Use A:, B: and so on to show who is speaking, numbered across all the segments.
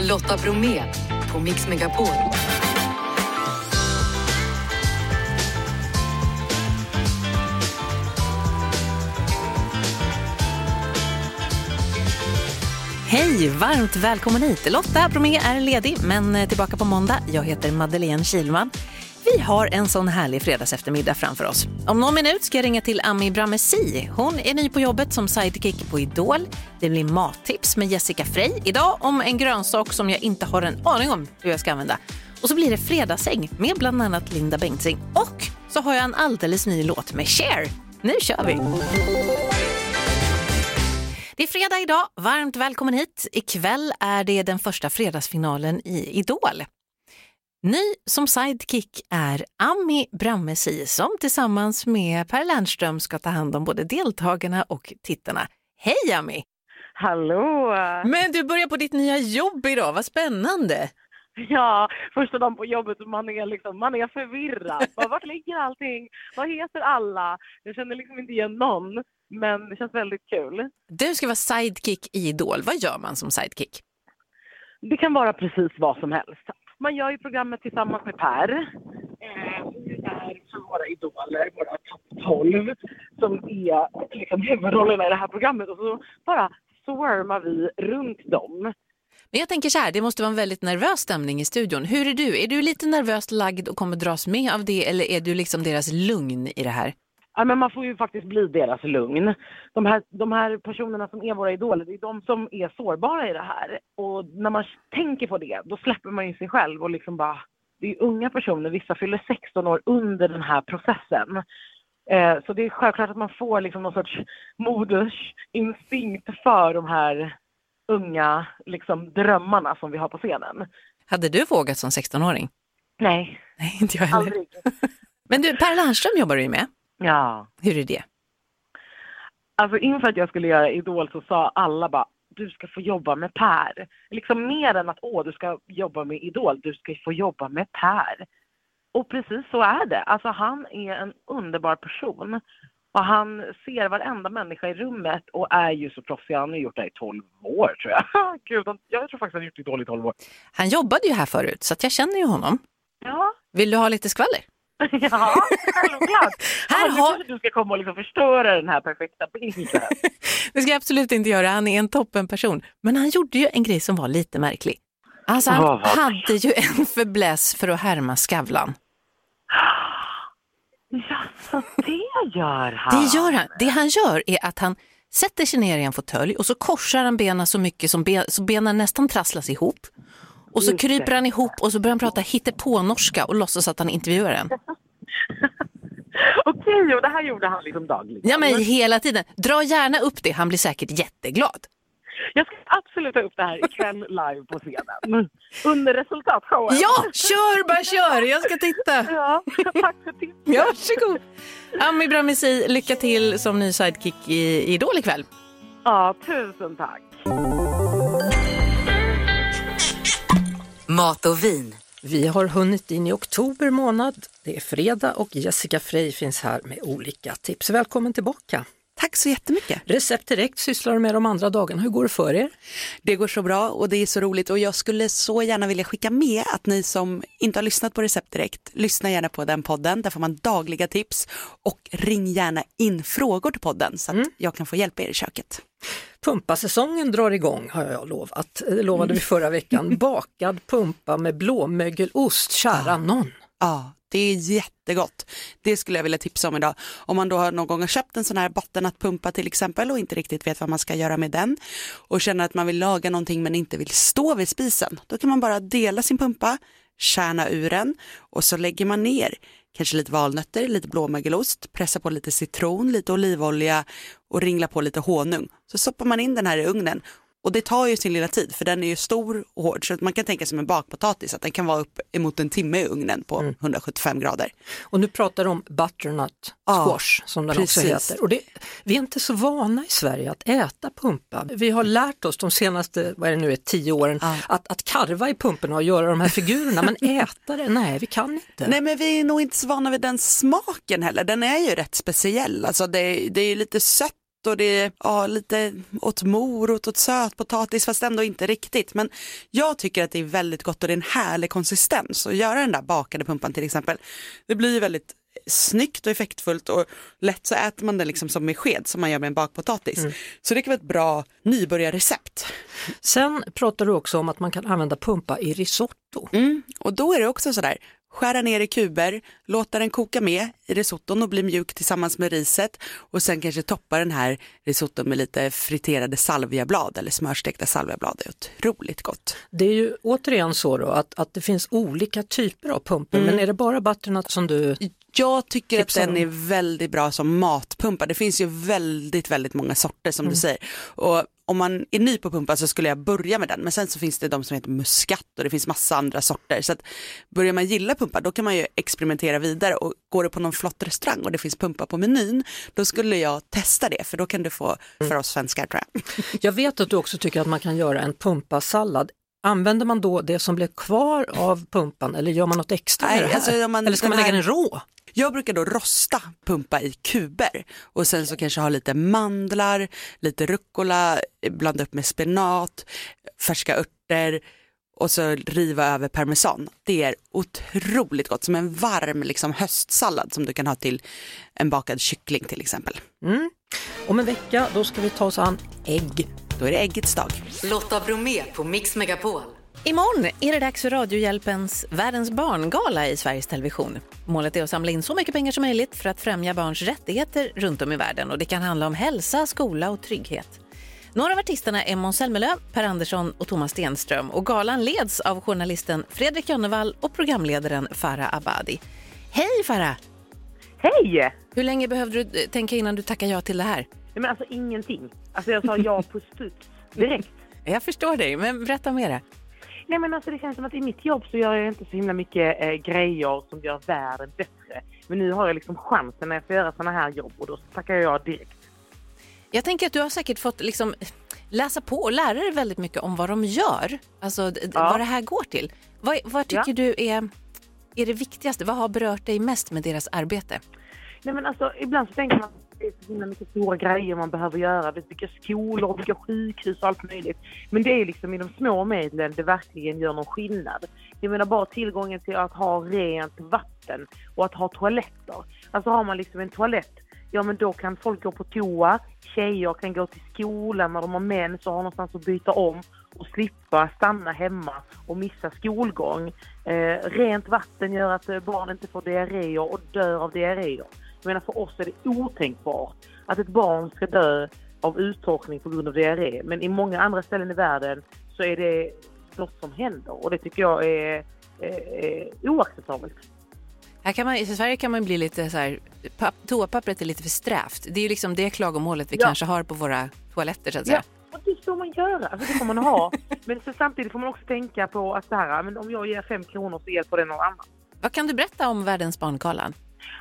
A: Lotta Bromé på Mix Megapol.
B: Hej! Varmt välkommen hit. Lotta Bromé är ledig, men eh, tillbaka på måndag. Jag heter Madeleine Kilman. Vi har en sån härlig fredagseftermiddag framför oss. Om någon minut ska jag ringa till Ami Bramesi. Hon är ny på jobbet som sidekick på Idol. Det blir mattips med Jessica Frey idag om en grönsak som jag inte har en aning om hur jag ska använda. Och så blir det fredagsäng med bland annat Linda Bengtzing. Och så har jag en alldeles ny låt med Cher. Nu kör vi! Det är fredag idag. Varmt välkommen hit. Ikväll är det den första fredagsfinalen i Idol. Ny som sidekick är Ami Brammesi som tillsammans med Per Lernström ska ta hand om både deltagarna och tittarna. Hej Ami!
C: Hallå!
B: Men du börjar på ditt nya jobb idag, vad spännande!
C: Ja, första dagen på jobbet och man är, liksom, man är förvirrad. Bara, vart ligger allting? Vad heter alla? Jag känner liksom inte igen någon, men det känns väldigt kul.
B: Du ska vara sidekick i Idol, vad gör man som sidekick?
C: Det kan vara precis vad som helst. Man gör ju programmet tillsammans med Per. Eh, det är för våra idoler, våra topp 12, som är liksom huvudrollerna i det här programmet. Och så bara swarmar vi runt dem.
B: Men jag tänker så här, det måste vara en väldigt nervös stämning i studion. Hur är du? Är du lite nervöst lagd och kommer dras med av det eller är du liksom deras lugn i det här?
C: Ja, men man får ju faktiskt bli deras lugn. De här, de här personerna som är våra idoler, det är de som är sårbara i det här. Och när man tänker på det, då släpper man ju sig själv och liksom bara... Det är ju unga personer, vissa fyller 16 år under den här processen. Eh, så det är självklart att man får liksom någon sorts modersinstinkt för de här unga liksom, drömmarna som vi har på scenen.
B: Hade du vågat som 16-åring?
C: Nej,
B: Nej, inte jag heller.
C: aldrig.
B: Men du, Per Lernström jobbar du ju med.
C: Ja.
B: Hur är det?
C: Alltså inför att jag skulle göra Idol så sa alla bara du ska få jobba med Per. Liksom mer än att åh du ska jobba med Idol, du ska få jobba med Per. Och precis så är det. Alltså han är en underbar person. Och han ser varenda människa i rummet och är ju så proffsig. Han har gjort det här i 12 år tror jag. Gud, han- jag tror faktiskt han har gjort Idol i 12 år.
B: Han jobbade ju här förut så att jag känner ju honom.
C: Ja,
B: Vill du ha lite skvaller?
C: ja självklart.
B: Här
C: Här
B: har-
C: har... Du ska komma och liksom förstöra den här perfekta bilden.
B: Det ska jag absolut inte göra, han är en toppenperson. Men han gjorde ju en grej som var lite märklig. Alltså han
C: Vad var det?
B: hade ju en förbläss för att härma Skavlan.
C: Jaså, det gör han?
B: Det gör han. Det han gör är att han sätter sig ner i en fåtölj och så korsar han benen så mycket som ben, så benen nästan trasslas ihop. Och så
C: Just det.
B: kryper han ihop och så börjar han prata hittepånorska och låtsas att han intervjuar en.
C: Okej, och det här gjorde han liksom dagligen.
B: Ja men hela tiden. Dra gärna upp det, han blir säkert jätteglad.
C: Jag ska absolut ta upp det här ikväll live på scenen. Under resultatshowen.
B: Ja, kör bara kör, jag ska titta.
C: ja tack för tipset.
B: Ja, varsågod. Ami Bramesi, lycka till som ny sidekick i Idol ikväll.
C: Ja, tusen tack.
A: Mat och vin.
D: Vi har hunnit in i oktober månad. Det är fredag och Jessica Frey finns här med olika tips. Välkommen tillbaka!
E: Tack så jättemycket.
D: Recept direkt sysslar du med de andra dagarna. Hur går det för er?
E: Det går så bra och det är så roligt och jag skulle så gärna vilja skicka med att ni som inte har lyssnat på Recept direkt, lyssna gärna på den podden. Där får man dagliga tips och ring gärna in frågor till podden så att jag kan få hjälpa er i köket.
D: Pumpasäsongen drar igång har jag lovat. Det lovade vi förra veckan. Bakad pumpa med blåmögelost, kära någon.
E: Ja, det är jättegott. Det skulle jag vilja tipsa om idag. Om man då har någon gång har köpt en sån här bottennattpumpa till exempel och inte riktigt vet vad man ska göra med den och känner att man vill laga någonting men inte vill stå vid spisen, då kan man bara dela sin pumpa, kärna ur den och så lägger man ner kanske lite valnötter, lite blåmögelost, pressa på lite citron, lite olivolja och ringla på lite honung. Så stoppar man in den här i ugnen och det tar ju sin lilla tid för den är ju stor och hård så att man kan tänka som en bakpotatis att den kan vara upp emot en timme i ugnen på 175 grader.
D: Och nu pratar du om butternut
E: Ja,
D: squash som den också
E: precis.
D: heter. Och det, vi är inte så vana i Sverige att äta pumpa. Vi har lärt oss de senaste, vad är det nu, är, tio åren
E: Ja.
D: att, att karva i pumporna och göra de här figurerna men äta det, nej vi kan inte.
E: Nej men vi är nog inte så vana vid den smaken heller, den är ju rätt speciell, alltså det, det är ju lite sött gott och det är ja, lite åt morot, åt sötpotatis fast ändå inte riktigt. Men jag tycker att det är väldigt gott och det är en härlig konsistens att göra den där bakade pumpan till exempel. Det blir ju väldigt snyggt och effektfullt och lätt så äter man det liksom som med sked som man gör med en bakpotatis. Så det kan vara ett bra nybörjarrecept.
F: Sen pratar du också om att man kan använda pumpa i risotto.
E: Mm. Och då är det också sådär, skära ner i kuber, låta den koka med i risotton och bli mjuk tillsammans med riset och sen kanske toppa den här risotton med lite friterade salviablad eller smörstekta salviablad. Det är otroligt gott.
F: Det är ju återigen så då att, att det finns olika typer av pumpor,
E: Mm.
F: men är det bara butternut som du...
E: Jag tycker
F: Tipsa
E: att den
F: dem.
E: är väldigt bra som matpumpa. Det finns ju väldigt, väldigt många sorter som du säger. Och om man är ny på pumpa så skulle jag börja med den. Men sen så finns det de som heter muskat och det finns massa andra sorter. Så att börjar man gilla pumpa då kan man ju experimentera vidare och går du på någon flott restaurang och det finns pumpa på menyn då skulle jag testa det för då kan du få för oss svenskar tror jag.
F: Jag vet att du också tycker att man kan göra en pumpasallad. Använder man då det som blev kvar av pumpan eller gör man något extra
E: Nej,
F: med det här?
E: alltså, om man-
F: eller ska
E: den
F: man lägga
E: här-
F: den rå?
E: Jag brukar då rosta pumpa i kuber och sen så kanske ha lite mandlar, lite rucola, blanda upp med spenat, färska örter och så riva över parmesan. Det är otroligt gott, som en varm liksom, höstsallad som du kan ha till en bakad kyckling till exempel.
F: Mm. Om en vecka då ska vi ta oss an ägg.
E: Då är det äggets dag.
A: Lotta Bromé på Mix Megapol.
B: Imorgon är det dags för Radiohjälpens Världens barngala i Sveriges Television. Målet är att samla in så mycket pengar som möjligt för att främja barns rättigheter runt om i världen. Och det kan handla om hälsa, skola och trygghet. Några av artisterna är Måns Zelmerlöw, Per Andersson och Thomas Stenström. Och galan leds av journalisten Fredrik Jönnevall och programledaren Farah Abadi. Hej Farah!
C: Hej!
B: Hur länge behövde du eh, tänka innan du tackade ja till det här?
C: Nej, men alltså ingenting. Alltså jag sa ja på studs direkt.
B: Jag förstår dig, men berätta mera.
C: Nej men alltså det känns som att i mitt jobb så gör jag inte så himla mycket eh, grejer som gör världen bättre. Men nu har jag liksom chansen när jag får göra sådana här jobb och då tackar jag direkt.
B: Jag tänker att du har säkert fått liksom läsa på och lära dig väldigt mycket om vad de gör, alltså d- d-
C: Ja.
B: vad det här går till. Vad, vad tycker
C: Ja.
B: du är, är det viktigaste? Vad har berört dig mest med deras arbete?
C: Nej men alltså ibland så tänker man att det är så himla mycket stora grejer man behöver göra. Vi bygger skolor, och bygger sjukhus och allt möjligt. Men det är liksom i de små medlen det verkligen gör någon skillnad. Jag menar bara tillgången till att ha rent vatten och att ha toaletter. Alltså har man liksom en toalett, ja men då kan folk gå på toa, tjejer kan gå till skolan när de har mens och har någonstans att byta om och slippa stanna hemma och missa skolgång. Eh, rent vatten gör att eh, barn inte får diarréer och dör av diarréer. Jag menar för oss är det otänkbart att ett barn ska dö av uttorkning på grund av diarré. Men i många andra ställen i världen så är det något som händer och det tycker jag är, är, är oacceptabelt.
B: Här kan man, I Sverige kan man bli lite så här, papp, toapappret är lite för strävt. Det är ju liksom det klagomålet vi
C: Ja.
B: kanske har på våra toaletter så att
C: Ja,
B: säga.
C: och det får man göra. Alltså, det får man ha. Men så samtidigt får man också tänka på att så här, men om jag ger fem kronor så hjälper det någon annan.
B: Vad kan du berätta om Världens barngalan?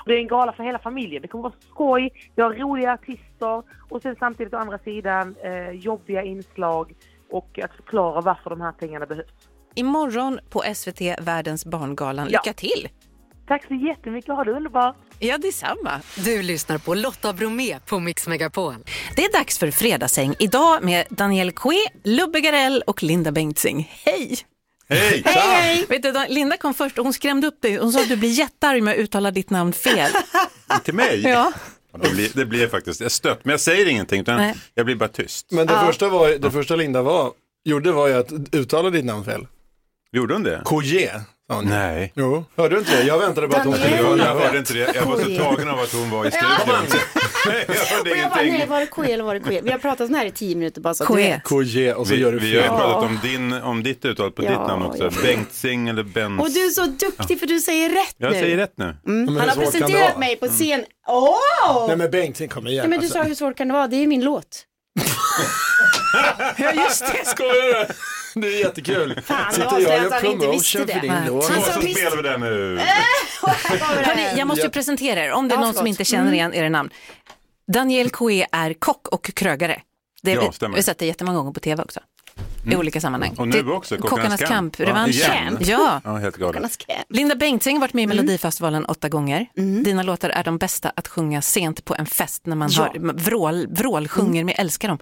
C: Och det är en gala för hela familjen. Det kommer vara skoj, vi har roliga artister och sen samtidigt å andra sidan eh, jobbiga inslag och att förklara varför de här pengarna behövs.
B: Imorgon på SVT Världens barngalan.
C: Ja.
B: Lycka till!
C: Tack så jättemycket, ha det underbart!
B: Ja, detsamma.
A: Du lyssnar på Lotta Bromé på Mix Megapol.
B: Det är dags för Fredagssäng idag med Daniel Kue, Lubbe Garell och Linda Bengtzing. Hej!
G: Hej!
B: Vet du, Dan- Linda kom först och hon skrämde upp dig. Hon sa att du blir jättearg om jag uttalar ditt namn fel.
G: Till mig?
B: Ja.
G: Det blir, det blir faktiskt jag stött, men jag säger ingenting utan
B: Nej.
G: jag blir bara tyst.
H: Men det, första var, det första Linda var, gjorde var ju att uttala ditt namn fel.
G: Gjorde hon det?
H: Koje, sa hon.
G: Nej.
H: Jo, hörde du inte det? Jag väntade bara att hon skulle
G: Jag,
H: göra
G: jag
H: det.
G: hörde inte det, jag var så tagen av att hon var i studion. Nej, jag hörde
I: Och jag bara, nej,
G: ingenting.
I: var det KE eller var det KE? Vi har pratat sån här i tio minuter bara så att du
B: Kue.
I: vet.
H: Koje och så
G: Vi,
H: gör du
G: vi har ju
H: fel.
G: pratat om, din, om ditt uttal på
I: Ja,
G: ditt namn också.
I: ja.
G: Bengtzing eller Benz.
I: Och du är så duktig för du säger rätt
G: jag
I: nu. Mm.
G: säger rätt nu.
H: Ja, men
I: Han har
H: hur svårt kan det
I: presenterat
H: vara? Mm.
I: mig på scen. Åh!
H: Nej men Bengt, kom igen. alltså.
I: Nej, men du sa hur svårt kan det vara? Det är ju min låt.
H: Ja just det, skojar du? Det är jättekul.
I: Fan, det
H: Sitter
I: var
H: jag och
I: så
H: gör
I: att han inte visste
H: promotion för
I: det.
H: din låt.
I: Han
G: Och
I: sa
G: så
I: Alltså, visst. Äh!
G: spelar vi den nu.
B: Hörni, jag måste ju presentera er. Om det är
I: Ja,
B: någon som
I: förlåt.
B: inte känner igen era namn. Daniel Kue är kock och krögare. Det
G: Ja,
B: har vi-
G: stämmer. Mm.
B: vi har sett det jättemånga gånger på tv också. i olika sammanhang.
G: Och nu
B: Det-
G: också,
B: Kockarnas
G: Kockarnas
B: kamp,
G: kamp. Ja,
B: revanschen.
G: igen.
B: Ja.
G: Ja, helt galet.
I: Kockarnas camp.
B: Linda Bengtzing har varit
I: Mm.
B: med i Melodifestivalen åtta gånger. Dina låtar är de bästa att sjunga sent på en fest när man
I: Ja. Mm.
B: har, man vrål, vrålsjunger, men jag älskar dem.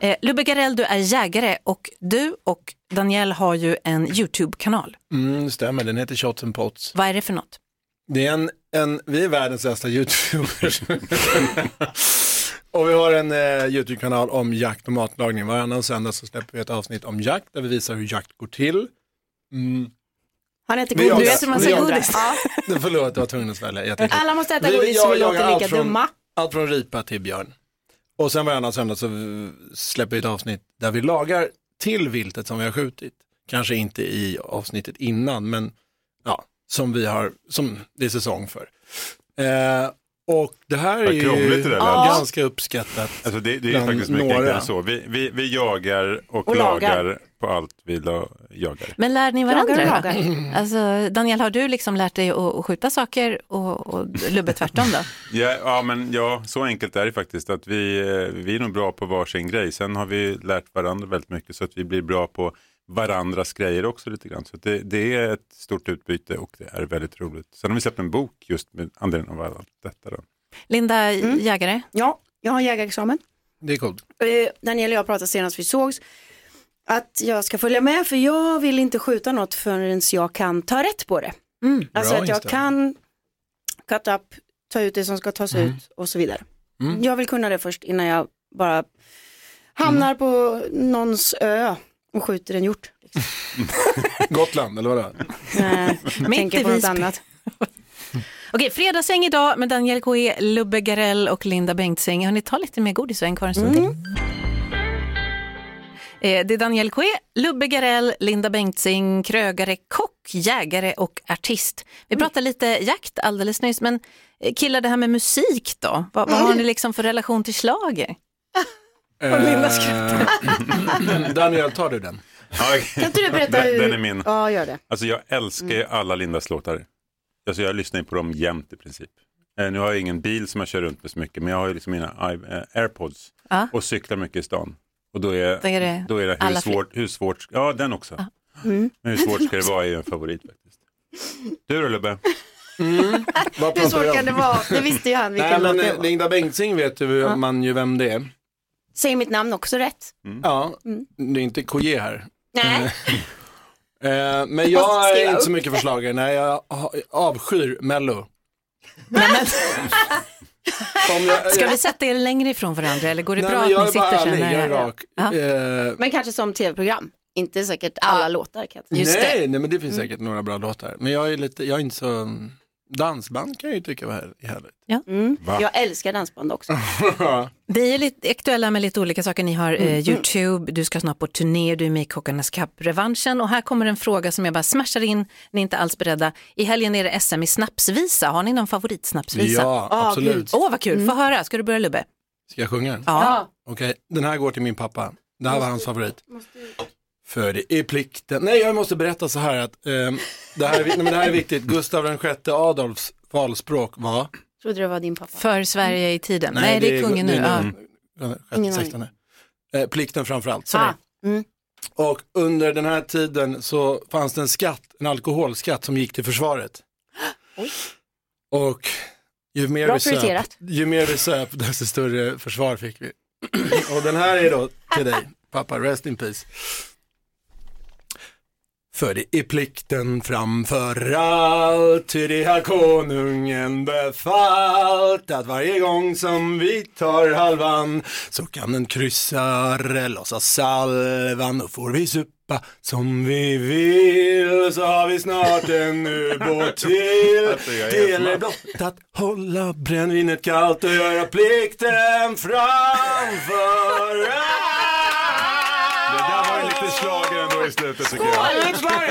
B: Eh, Lubbe Garell, du är jägare och du och Daniel har ju en YouTube-kanal.
H: Mm, stämmer, den heter Shots and Pots.
B: Vad är det för något?
H: Det är en, en, vi är världens bästa YouTubers. och vi har en eh, YouTube-kanal om jakt och matlagning. Varannan söndag så släpper vi ett avsnitt om jakt där vi visar hur jakt går till. Mm.
I: Han äter
H: Vi jagar.
I: godis.
H: Du äter massa
I: Vi jagar.
H: godis.
I: Ja.
H: Förlåt, jag var tvungen att svälja. Jag tänkte-
I: Alla måste äta
H: Vi-
I: godis
H: jag
I: så vi
H: jagar
I: låter
H: allt
I: lika
H: från-
I: dumma.
H: Allt från ripa till björn. Och sen varannan söndag så släpper vi ett avsnitt där vi lagar till viltet som vi har skjutit. Kanske inte i avsnittet innan, men ja, som vi har, som det är säsong för. Eh, och det här är
G: Vad
H: ju
G: krångligt det där lät.
H: ganska uppskattat.
G: Alltså det, det är
H: Bland
G: faktiskt mycket enklare
H: några.
G: än så. Vi, vi, vi jagar och,
I: Och lagar.
G: lagar. på allt vi la, jagar.
B: Men lär ni varandra?
I: Lagar och
B: då? Alltså, Daniel, har du liksom lärt dig att, att skjuta saker och, och Lubbe tvärtom då?
G: Ja, ja, men ja, så enkelt är det faktiskt. Att vi, eh, vi är nog bra på varsin grej. Sen har vi lärt varandra väldigt mycket så att vi blir bra på varandras grejer också lite grann. Så att det, det är ett stort utbyte och det är väldigt roligt. Sen har vi släppt en bok just med anledning av allt detta. Då.
B: Linda,
I: Mm.
B: jägare?
I: Ja, jag har jägarexamen.
H: Det är coolt.
I: Eh, Daniel och jag pratade senast vi sågs. Att jag ska följa med för jag vill inte skjuta något förrän jag kan ta rätt på det. Alltså
H: Mm. Bra
I: att jag
H: inställning.
I: kan cut up, ta ut det som ska tas
H: Mm.
I: ut och så vidare. Jag vill kunna det först innan jag bara hamnar
H: Mm.
I: på någons ö och skjuter en hjort.
H: Gotland, eller vadå?
I: Nej,
B: i
I: tänker på något
B: Visby.
I: annat.
B: Okej, fredagsäng idag med Daniel K.E., Lubbe Garell och Linda Bengtzing. Hörni, ta lite mer godis och en kvar en stund till.
H: Mm.
B: Eh, Det är Daniel K.E., Lubbe Garell, Linda Bengtzing, krögare, kock, jägare och artist. Vi
H: Mm.
B: pratade lite jakt alldeles nyss, men eh, killar, det här med musik då? Vad, vad
H: Mm.
B: har ni liksom för relation till schlager?
H: Eh, Daniel, tar du den?
G: Ja, okej.
I: Kan inte du berätta
G: den,
I: hur...
G: den är min.
I: Ja, gör det.
G: Alltså jag älskar
B: Mm.
G: ju alla Lindas låtar. Alltså jag lyssnar ju på dem jämt i princip. Eh, nu har jag ingen bil som jag kör runt med så mycket, men jag har ju liksom mina i- eh, airpods
B: Ja.
G: och cyklar mycket i stan. Och då är,
B: Då är det
G: då är det hur
B: alla fler. Mm.
G: svårt, hur svårt, ja den också. Men hur svårt ska det vara är ju en favorit faktiskt. Du då Lubbe?
H: Vad
I: Hur
H: pratar vi
I: svårt
H: om?
I: kan det vara? Det visste ju han
H: Nej,
I: vilken låt
H: men
I: det
H: eh,
I: var.
H: Linda Bengtzing vet du, man ju vem det är.
G: Mm.
I: Säg mitt namn också rätt.
H: Ja,
I: Mm.
H: det är inte Koje här.
I: Nej,
H: Eh, men
I: måste
H: jag
I: skriva
H: är inte
I: upp
H: så mycket för schlager. Nej, jag ha- avskyr Mello. Om jag,
B: Ska vi sätta er längre ifrån varandra eller går det
H: Nej,
B: bra
H: men
B: att
H: jag
B: ni
H: är bara
B: sitter så
H: ärlig, jag är
B: här? nära?
H: rak.
B: Ja.
H: Eh,
I: men kanske som tv-program. Inte säkert alla låtar. Kan jag
B: Just Mm.
H: nej, nej, men det finns säkert några bra låtar. Men jag är lite, jag är inte så, dansband kan jag ju tycka var här- härligt.
G: Va?
I: Jag älskar dansband också.
B: Vi är lite aktuella med lite olika saker. Ni har eh, Youtube, du ska snart på turné, du är med i Kockarnas Cup-revanschen och här kommer en fråga som jag bara smashar in, ni är inte alls beredda. I helgen är det SM i snapsvisa, har ni någon favoritsnapsvisa?
H: Ja, absolut.
B: Åh vad kul, få höra, ska du börja Lubbe?
H: Ska jag sjunga?
B: Ja.
H: Okej, den här går till min pappa. Det här var hans favorit. För det är plikten. Nej, jag måste berätta så här att ehm, det, här, är vi- nej, men det här är viktigt. Gustav den sjätte Adolfs valspråk var?
I: Trodde det var din pappa.
B: För Sverige i tiden. Nej, det är kungen nu. Ja.
H: Ja.
I: Ingen
H: Sjätte, sextonde. Eh, plikten framförallt.
I: Ah, mm.
H: Och under den här tiden så fanns det en skatt, en alkoholskatt som gick till försvaret. Och ju mer,
I: Bra
H: vi söp,
I: prioriterat.
H: ju mer vi söp, desto större försvar fick vi. Och den här är då till dig, pappa, rest in peace. För det är plikten framför allt, ty det har konungen befallt att varje gång som vi tar halvan så kan en kryssare lossa salvan och får vi suppa som vi vill så har vi snart en ubåt till.
G: Alltså, jag är
H: Det
G: helt
H: gäller blott att hålla brännvinet kallt och göra plikten framför
G: Det
H: allt.
G: där var ju lite slagen ändå i slutet tycker jag.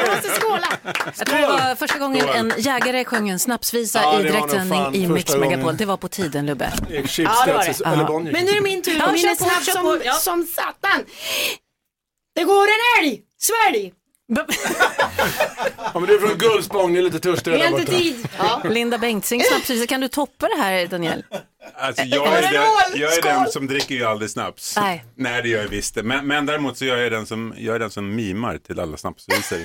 I: Jag måste skåla.
B: Jag tror det var första gången en jägare sjöng en snapsvisa
H: Ja,
B: i
H: det var nog
B: direktsändning
H: fan
B: i Mix
H: första
B: Megapol.
H: gången.
B: Det var på tiden Lubbe.
I: Ja, det var det.
H: Eller Bonnier.
I: Men nu är det min tur.
B: Ja,
I: och min
B: kör
I: är
B: på,
I: snabb
B: kör
I: som,
B: på. Ja.
I: som satan. Det går en älg. Svälj.
H: Ja, men du är från Gullspång, ni är lite törstiga
I: Vi
H: där
I: har inte
H: borta.
I: tid. Ja.
B: Linda Bengtzing, snabbsyster, kan du toppa det här Daniel? Eh,
G: Alltså jag är, den, jag är den som dricker ju aldrig snaps.
B: Nej.
G: det gör jag visst det. Men, men däremot så är jag den som, jag är den som mimar till alla snapsvisor.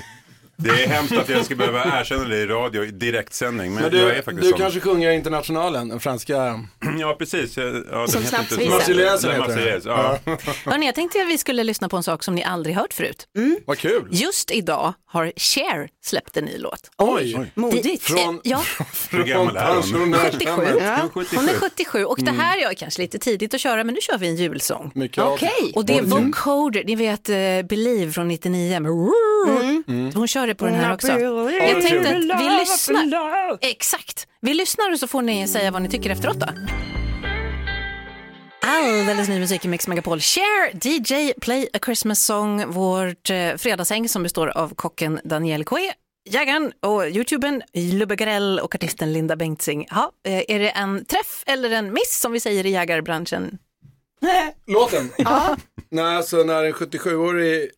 G: Det är hemskt att jag ska behöva erkänna det i radio i direktsändning. Men,
H: Men
G: jag
H: du,
G: är faktiskt
H: du
G: sån.
H: kanske sjunger Internationalen, den franska.
G: Ja, precis. Jag- Ja, den heter
I: Som
G: inte så.
I: snapsvisa.
H: Marseljäsen
G: Nej,
H: heter den.
G: Marseljäs, Ja.
B: Hörrni, jag tänkte att vi skulle lyssna på en sak som ni aldrig hört förut.
H: Vad kul.
B: Just idag har Cher släppt en ny låt. eh,
H: Oj,
I: Modigt.
H: Från-
B: Ja,
G: Hur gammal är hon?
B: 77.
G: Ja,
B: Hon är
G: 77.
B: 77 och det här är kanske lite tidigt att köra men nu kör vi en julsång.
H: Mycket Okej.
B: Och det är Vocoder, ni vet eh, Believe från 99 med Hon kör det på den här också. Jag tänkte att vi lyssnar. Exakt. Vi lyssnar och så får ni säga vad ni tycker efteråt då. Alldeles ny musik i Mix Megapol. Share, DJ, Play a Christmas Song, vårt eh, fredagshäng som består av kocken Daniel Koe, jägaren och youtubern Lubbe Garell och artisten Linda Bengtzing. Ja, eh, är det en träff eller en miss som vi säger i jägarbranschen?
H: låten. Nej, alltså när en 77-årig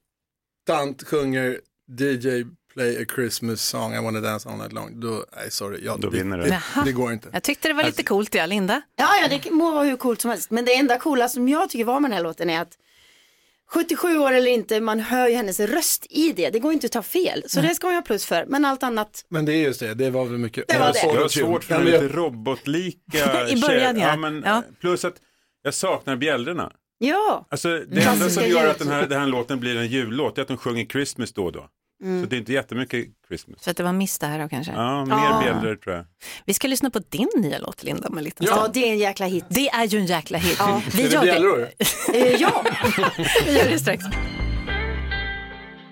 H: tant sjunger DJ play a Christmas song, I wanna dance all night long, då, nej sorry, ja,
G: Då
H: det,
G: vinner du.
H: det, det går inte.
B: Jag tyckte det var lite coolt, ja, Linda.
I: Ja, ja, det må vara hur coolt som helst. Men det enda coola som jag tycker var med den här låten är att 77 år eller inte, man hör ju hennes röst i det. Det går inte att ta fel. Så det ska man ju ha plus för. Men allt annat,
H: Men det är just det, det var väl mycket
I: Det var
H: all
I: det.
H: sort
G: Jag har
H: of tune.
G: svårt för
H: Ja,
G: den
H: men jag-
G: lite robotlika
B: I början,
G: tjej.
B: ja.
G: men, eh,
B: Ja.
G: Plus att jag saknar bjällrorna.
I: ja.
G: Alltså, det enda som
I: Klassiska
G: gör
I: jul.
G: att den här, den här låten blir en jullåt är att de sjunger Christmas då och då.
B: Mm.
G: Så det är inte jättemycket Christmas.
B: Så att det var en miss det här då kanske.
G: Ja, mer bjällror tror jag.
B: Vi ska lyssna på din nya låt, Linda, om en liten
I: Ja,
B: stund.
I: det är en jäkla hit.
B: Det är ju en jäkla hit. Vi
H: Är det bjällror?
I: Eh, ja,
B: Vi gör det strax.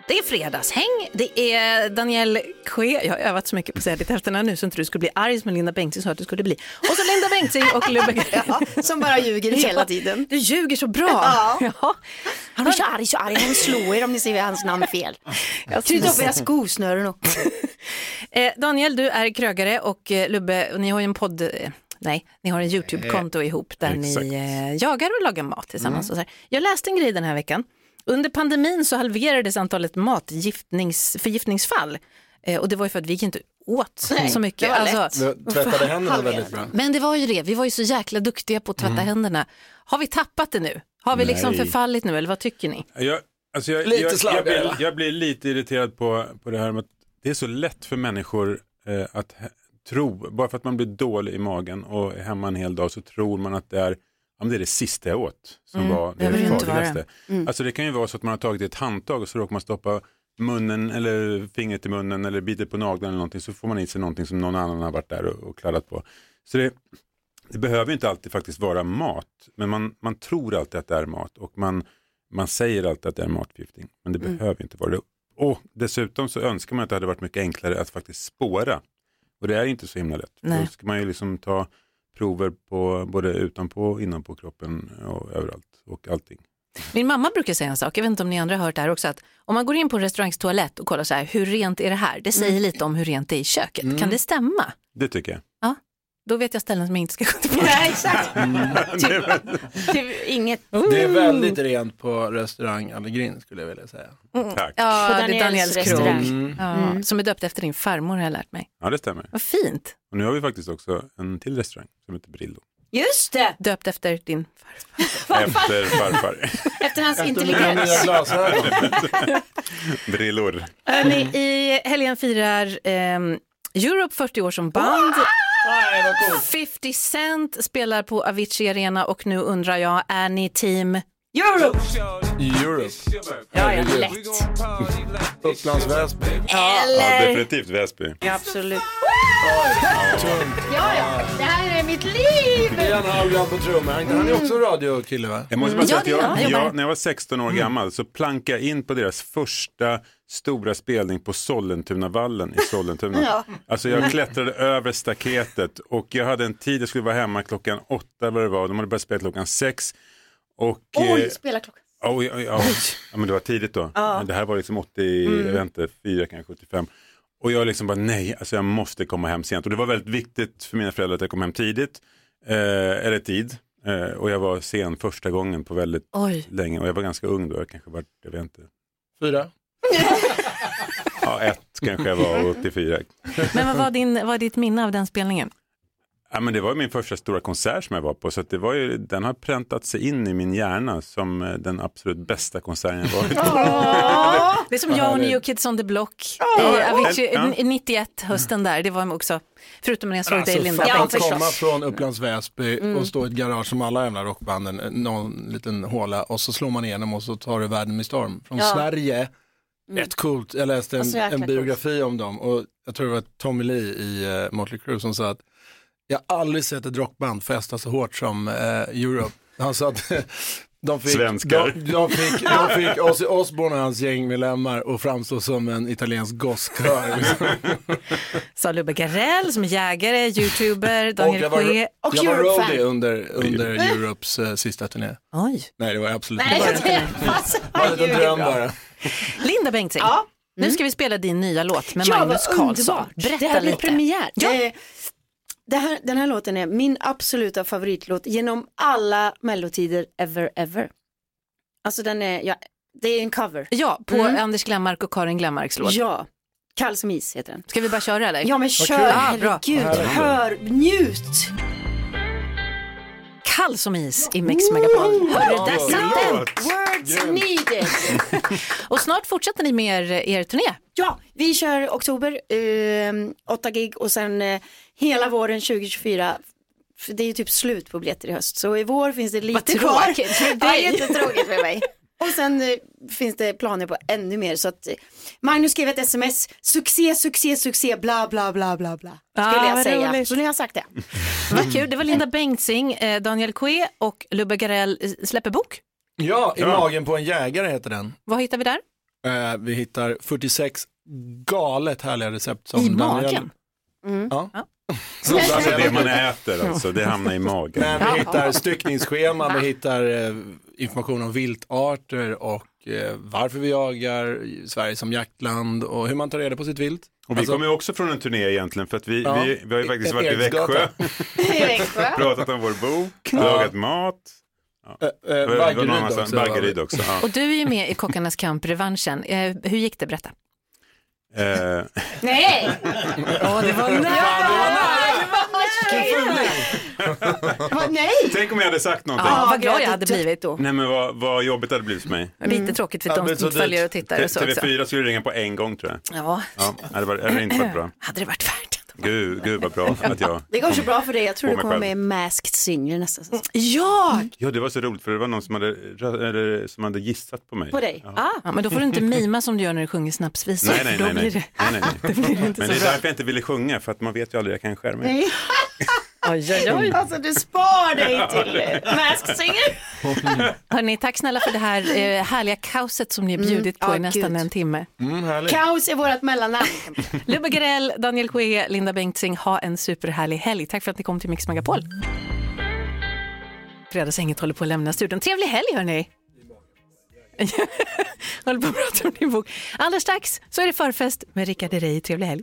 B: Det är fredagshäng, det är Daniel Kue, jag har övat så mycket på att säga ditt efternamn nu så inte du skulle bli arg som Linda Bengtzing sa att du skulle bli. Och så Linda Bengtzing och Lubbe Grell.
I: som bara ljuger hela tiden.
B: Du ljuger så bra.
I: Ja.
B: Ja.
I: Han är så arg, så arg. Han slår er om ni säger hans namn fel. Krydd upp era skosnören och...
B: Eh, Daniel, du är krögare och eh, Lubbe, och ni har ju en podd, eh, nej, ni har en YouTube-konto ihop där
G: Exakt.
B: ni eh, jagar och lagar mat tillsammans. Och så här. Jag läste en grej den här veckan. Under pandemin så halverades antalet matförgiftningsfall. Eh, och det var ju för att vi gick inte åt så mycket.
I: det var
B: Alltså,
H: Jag Tvättade händerna väldigt bra.
B: men det var ju det, vi var ju så jäkla duktiga på att tvätta händerna. Har vi tappat det nu? Har vi liksom
G: Nej.
B: förfallit nu eller vad tycker ni?
G: Jag, alltså jag,
H: Lite
G: jag, jag,
H: slarvigare,
G: blir,
H: va?
G: jag blir lite irriterad på, på det här med att det är så lätt för människor eh, att he- tro, bara för att man blir dålig i magen och är hemma en hel dag så tror man att det är ja, men det är det sista jag åt som var det
B: Mm. jag vill inte vara Mm.
G: farligaste. Alltså det kan ju vara så att man har tagit ett handtag och så råkar man stoppa munnen eller fingret i munnen eller biter på nageln eller någonting så får man i sig någonting som någon annan har varit där och, och kladdat på. Så det, det behöver ju inte alltid faktiskt vara mat, men man, man tror alltid att det är mat och man, man säger alltid att det är matförgiftning, men det
B: Mm.
G: behöver ju inte vara det. Och dessutom så önskar man att det hade varit mycket enklare att faktiskt spåra. Och det är inte så himla lätt.
B: Nej.
G: Då ska man ju liksom ta prover på både utanpå och innanpå kroppen och överallt och allting.
B: Min mamma brukar säga en sak, jag vet inte om ni andra har hört det här också, att om man går in på en restaurangs toalett och kollar så här, hur rent är det här? Det
I: Mm.
B: säger lite om hur rent det är i köket. Kan det stämma?
G: Det tycker jag.
B: Då vet jag ställen som jag inte ska gå till.
I: Nej, exakt. Typ inget.
H: Det är väldigt rent på restaurang Allegrin skulle jag vilja säga. Mm.
G: Tack.
B: Ja,
I: Mm, På
B: det är
I: Daniels
B: Daniels krog.
I: restaurang. Mm.
B: Ja, Som är döpt efter din farmor har jag lärt mig.
G: Ja, det stämmer.
B: Vad fint.
G: Och nu har vi faktiskt också en till restaurang som heter Brillo.
I: Just det,
B: Döpt efter din farfar.
G: Efter farfar.
I: efter hans
H: Mina
I: intelligens.
H: nya glasögon.
G: Brillor.
B: Hörrni, I helgen firar ehm, Europe 40 år som band. 50 Cent spelar på Avicii Arena och nu undrar jag, är ni team?
I: Europe!
H: Europe.
I: Ja, ja, lätt.
H: Upplands Väsby.
G: Ja,
I: Eller?
G: definitivt Väsby.
I: Ja, absolut.
H: Tungt.
I: Ja, ja, det här är mitt liv!
H: Ian Halvdan på trummor. Han han är också radiokille va?
G: Jag måste bara säga att
B: Mm. Ja, det är
G: jag,
B: jag. Jag Mm.
G: jag,
B: bara-
G: när jag var 16 år gammal så plankade jag in på deras första stora spelning på Sollentunavallen i Sollentuna. Alltså
B: Mm.
G: jag klättrade över staketet och jag hade en tid, jag skulle vara hemma klockan åtta vad det var, de hade börjat spela klockan sex. Och, eh,
I: Oj, spela klockan.
G: Oj, oj, oj. Ja, men det var tidigt då. Men Det här var liksom 80, jag vet inte, 4 kanske 75. Och jag liksom bara nej, alltså jag måste komma hem sent. Och det var väldigt viktigt för mina föräldrar att jag kom hem tidigt, eh, eller tid. Eh, och jag var sen första gången på väldigt
B: Oj.
G: länge och jag var ganska ung då, jag kanske var, jag vet inte.
H: Fyra.
G: Ja, ett kanske jag var och 84.
B: Men vad var, din, vad är ditt minne av den spelningen?
G: Ja, men det var ju min första stora konsert som jag var på så att det var ju, den har präntat sig in i min hjärna som eh, den absolut bästa konserten jag varit på.
B: Det är som jag och New Kids on the Block i Avicii
G: Ja.
B: n- 91, hösten där. Det var också, förutom när jag såg dig i
H: Alltså,
B: Linda.
H: fatta att komma från Upplands Väsby och stå i ett garage som alla jävla rockbanden, eh, någon liten håla och så slår man igenom och så tar det världen i storm. Från Sverige, rätt coolt. Jag läste en,
I: Alltså, jäkla
H: en
I: coolt.
H: biografi om dem och jag tror det var Tommy Lee i uh, Motley Crue som sa att jag har aldrig sett ett rockband festa så hårt som eh, Europe. Han sa att de fick,
G: Svenskar.
H: De, de fick, de fick Ozzy Osbourne och hans gängmedlemmar att framstå som en italiensk gosskör. Liksom.
B: Sa Lubbe Garell som är jägare, youtuber,
H: Och
B: Daniel
H: jag var,
B: Kue.
H: jag var
I: Europe-fan.
H: roadie under, under Europes eh, sista turné.
B: Oj.
H: Nej, det var jag absolut
I: Nej,
H: inte.
I: det är alltså,
H: Det var en liten dröm bara.
B: Linda Bengtzing, nu ska vi spela din nya låt med
I: Mm. Ja,
B: Magnus
I: vad
B: Karlsson.
I: underbart. det
B: Berätta
I: här blir
B: lite.
I: premiär. Eh, Det här, den här låten är min absoluta favoritlåt genom alla mellotider ever, ever. Alltså den är, ja, det är en cover.
B: Ja, på Anders Glenmark och Karin Glenmarks låt.
I: Mm. Ja, Kall som is heter den.
B: Ska vi bara köra eller?
I: Ja men kör,
B: Ah, bra.
I: herregud, hör, njut.
B: Kall som is i Mix Megapol. Hörru, där satt den!
I: Words needed.
B: Och snart fortsätter ni med er, er turné.
I: Ja, vi kör oktober, eh, åtta gig och sen eh, hela våren 2024. För Det är ju typ slut på biljetter i höst, så i vår finns det lite kvar.
B: tråkigt för
I: Ja,
B: dig.
I: jättetråkigt för mig. Och sen eh, finns det planer på ännu mer, så att eh, Magnus skrev ett sms, succé, succé, succé, bla, bla, bla, bla, bla. Skulle
B: Ah,
I: jag
B: vad
I: säga.
B: roligt.
I: Så nu har jag sagt det.
B: Vad kul, det var Linda Bengtzing, eh, Daniel Kue och Lubbe Garell eh, släpper bok.
H: Ja, i
G: Ja.
H: magen på en jägare heter den.
B: Vad hittar vi där?
H: Eh, vi hittar 46 galet härliga recept som
B: I
H: Daniel... Mm.
B: magen?
H: Ja.
B: Ja.
H: Som
G: Alltså
H: Daniel-
G: det man äter alltså, det hamnar i magen.
H: Men vi hittar styckningsscheman, vi hittar eh, information om viltarter och eh, varför vi jagar, Sverige som jaktland och hur man tar reda på sitt vilt.
G: Och vi
H: Alltså-
G: kommer ju också från en turné egentligen för att vi,
H: Ja.
G: vi, vi har ju faktiskt
H: E-
G: varit i
H: Eriksgatan.
G: Växjö, pratat om vår bok, lagat mat.
H: Eh,
G: Det
H: eh,
G: var- det var någon
H: Vaggeryd
G: annanstans-
H: också.
G: Vaggeryd också. Ja.
B: Och du är ju med i Kockarnas kamp revanschen. Eh, hur gick det? Berätta.
G: Eh,
I: Nej!
B: Åh, det var nära! Ah,
I: Vad- Nej!
G: Tänk om jag hade sagt någonting.
B: Ja, Mm. vad
I: vi
B: glad
I: hade
B: jag hade
I: dött
B: blivit då.
G: Nej men vad, vad jobbigt det hade blivit för mig.
B: Lite tråkigt för
H: Ja,
B: de
H: men
B: som
H: så
B: följer
H: dyrt.
B: och tittar och så också.
G: TV4 skulle ringa på en gång tror jag.
B: Ja,
G: Ja, det var- det hade inte varit bra.
B: hade det varit värt det.
G: Gud, gud vad bra att jag...
I: Det går så bra för dig, jag tror
G: På
I: du
G: mig
I: kommer
G: själv.
I: med i Masked Singer nästa säsong.
B: Ja,
G: Ja, det var så roligt för det var någon som hade, eller, som hade gissat på mig.
I: På dig?
G: Ja.
B: ah, men då får du inte mima som du gör när du sjunger snapsvisor.
G: Mm. Nej, nej,
B: för då
G: nej. nej.
B: blir det...
G: nej, nej, nej.
B: blir inte
G: Men
B: så
G: det är
B: bra.
G: därför jag inte ville sjunga, för att man vet ju aldrig, jag kanske är med.
B: Oj, oj, oj.
I: Alltså du spar dig till eh, Masked Singer.
B: Hörrni, tack snälla för det här eh, härliga kaoset som ni bjudit på
I: Ja,
B: i nästan
I: gud.
B: en timme.
H: Mm, härligt.
I: Kaos är vårt mellannamn.
B: Lubbe Garell, Daniel Kue, Linda Bengtzing, ha en superhärlig helg. Tack för att ni kom till Mix Megapol. Fredagshänget håller på att lämna studion. Trevlig helg hörni! håller på att prata om din bok. Alldeles strax så är det förfest med Rickard Herrey. Trevlig helg!